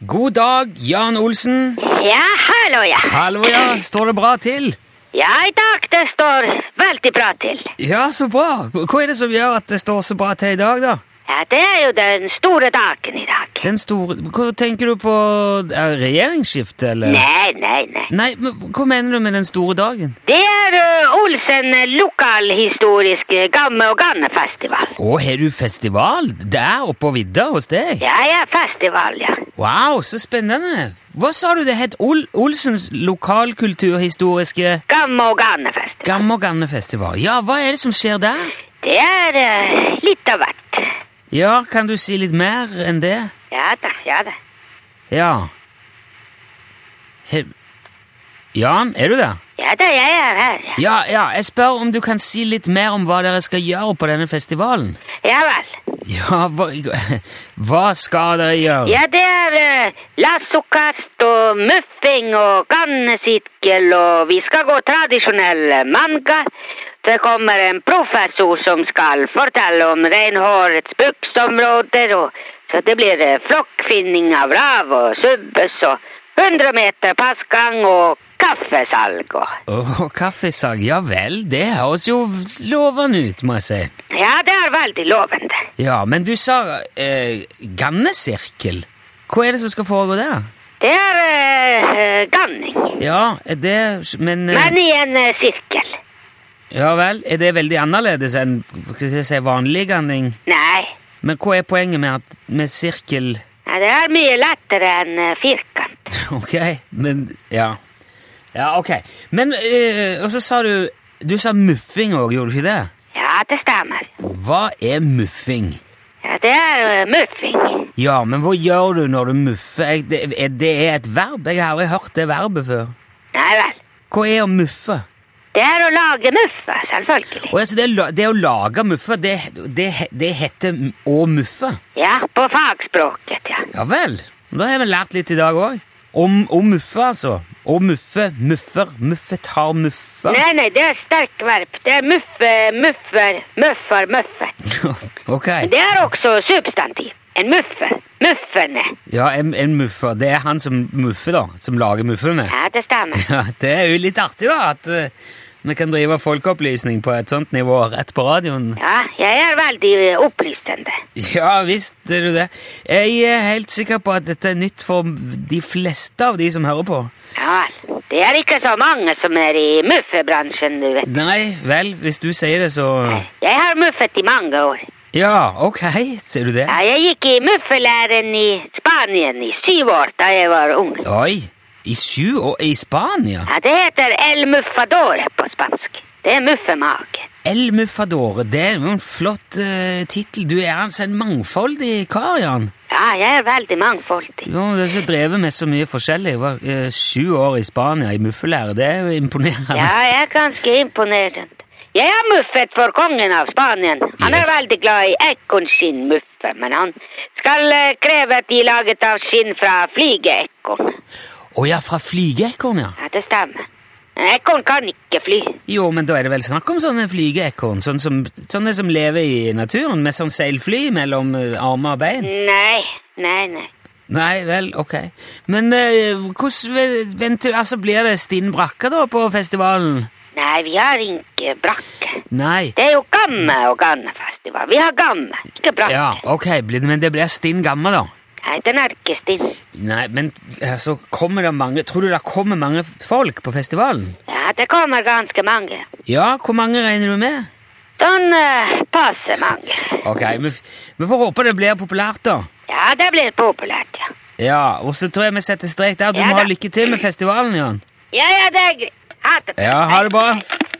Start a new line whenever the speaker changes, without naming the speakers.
God dag, Jan Olsen.
Ja, hallo, ja.
Hallo, ja. Står det bra til?
Ja, i dag det står veldig bra til.
Ja, så bra. Hva er det som gjør at det står så bra til i dag, da?
Ja, det er jo den store dagen i dag.
Den store Hva tenker du på eh, regjeringsskiftet, eller?
Nei, nei, nei.
Nei, men hva mener du med den store dagen?
Det er ø, Olsen lokalhistorisk ø, gamme- og gannefestival.
Å, har du festival der oppe på vidda hos deg?
Ja, ja, festival, ja.
Wow, så spennende. Hva sa du det het? Ol Olsens lokalkulturhistoriske
Gamme- og gannefestival.
Gammogannefestival. Ja, hva er det som skjer der?
Det er ø, litt av hvert.
Ja, kan du si litt mer enn det?
Ja da, ja da.
Ja. He Jan, er du der?
Ja da, jeg er her. ja.
Ja, ja, jeg spør om du kan si litt mer om hva dere skal gjøre på denne festivalen.
Ja vel.
Ja, hva, hva skal dere gjøre?
Ja, det er ø, lassokast og muffing og gannesirkel, og vi skal gå tradisjonell eh, manga. Det kommer en professor som skal fortelle om reinhårets bruksområder, og så det blir ø, flokkfinning av rav og subbes og 100 meter passgang og kaffesalg og
Åh, kaffesag, ja vel, det høres jo lovende ut, må jeg si.
Ja, det er veldig lovende.
Ja, men du sa eh, gannesirkel. Hva er det som skal foregå der?
Det er ø, ø, ganning,
Ja, er det Men, eh,
men i en ø, sirkel.
Ja vel, er det veldig annerledes enn skal jeg si, vanlig ganning?
Nei.
Men hva er poenget med, at, med sirkel
Ja, det er mye lettere enn eh, firkant.
Ok, men Ja. Ja, ok. Men eh, Og så sa du Du sa muffing òg, gjorde du ikke det?
Ja, det stemmer.
Hva er muffing?
Ja, det er eh, muffing.
Ja, men hva gjør du når du muffer? Jeg, det, er, det er et verb. Jeg har aldri hørt det verbet før.
Nei vel.
Hva er å muffe?
Det er å lage muffa, selvfølgelig.
Å, altså, det, er la- det å lage muffe, det, det, he- det heter m- å muffe.
Ja, på fagspråket, ja.
Ja vel. Da har vi lært litt i dag òg. Om å muffe, altså. Å muffe, muffer, muffet har muffa.
Nei, nei, det er sterk verp. Det er muffe, muffer, muffer, muffer.
ok.
Det er også substantiv. En muffe. Muffene.
Ja, en, en muffer. Det er han som muffer, da. Som lager muffene.
Ja, det stemmer.
Ja, det er jo litt artig, da, at eh, vi kan drive folkeopplysning på et sånt nivå rett på radioen.
Ja, jeg er veldig eh, opplysende.
Ja visst er du det. Jeg er helt sikker på at dette er nytt for de fleste av de som hører på.
Ja vel. Det er ikke så mange som er i muffebransjen, du vet.
Nei vel, hvis du sier det, så
Jeg har muffet i mange år.
Ja, ok, ser du det?
Ja, jeg gikk i muffelæren i Spanien i syv år da jeg var ung.
Oi! I sju og i Spania?
Ja, det heter el muffador på spansk. Det er muffemage.
El Muffadore, det er jo en flott uh, tittel. Du er altså en mangfoldig kar, Jan.
Ja, jeg er veldig mangfoldig.
Du har ikke drevet med så mye forskjellig. Jeg var eh, sju år i Spania i muffelære. Det er jo imponerende.
Ja, jeg er ganske imponerende. Jeg har muffet for kongen av Spanien. Han er
Yes.
veldig glad i ekornskinnmuffe, men han skal eh, kreve at de er laget av skinn fra flygeekorn.
Å ja, fra flygeekorn, ja.
Ja, det stemmer. Men Ekorn kan ikke fly.
Jo, men da er det vel snakk om sånne flygeekorn? Sånne som, sånne som lever i naturen, med sånn seilfly mellom eh, armer og bein?
Nei, nei, nei.
Nei vel, ok. Men eh, hvordan ve- vent, altså, blir det stinn brakke da på festivalen?
Nei, vi har ikke brakke.
Nei.
Det er jo gamme og gannefestival. Vi har gamme, ikke brakke.
Ja, ok, blir det, men det blir stinn gammel, da?
Nei, den er ikke stille.
Nei, men altså, kommer det mange Tror du det kommer mange folk på festivalen?
Ja, det kommer ganske mange.
Ja, hvor mange regner du med?
Sånn eh, passe mange.
Ok, vi, f- vi får håpe det blir populært, da.
Ja, det blir populært, ja.
Ja, og så tror jeg vi setter strek der. Du
Ja
må ha
da.
lykke til med festivalen, Jan.
Ja, ja, det er greit. Ha det.
Ja, ha det bra.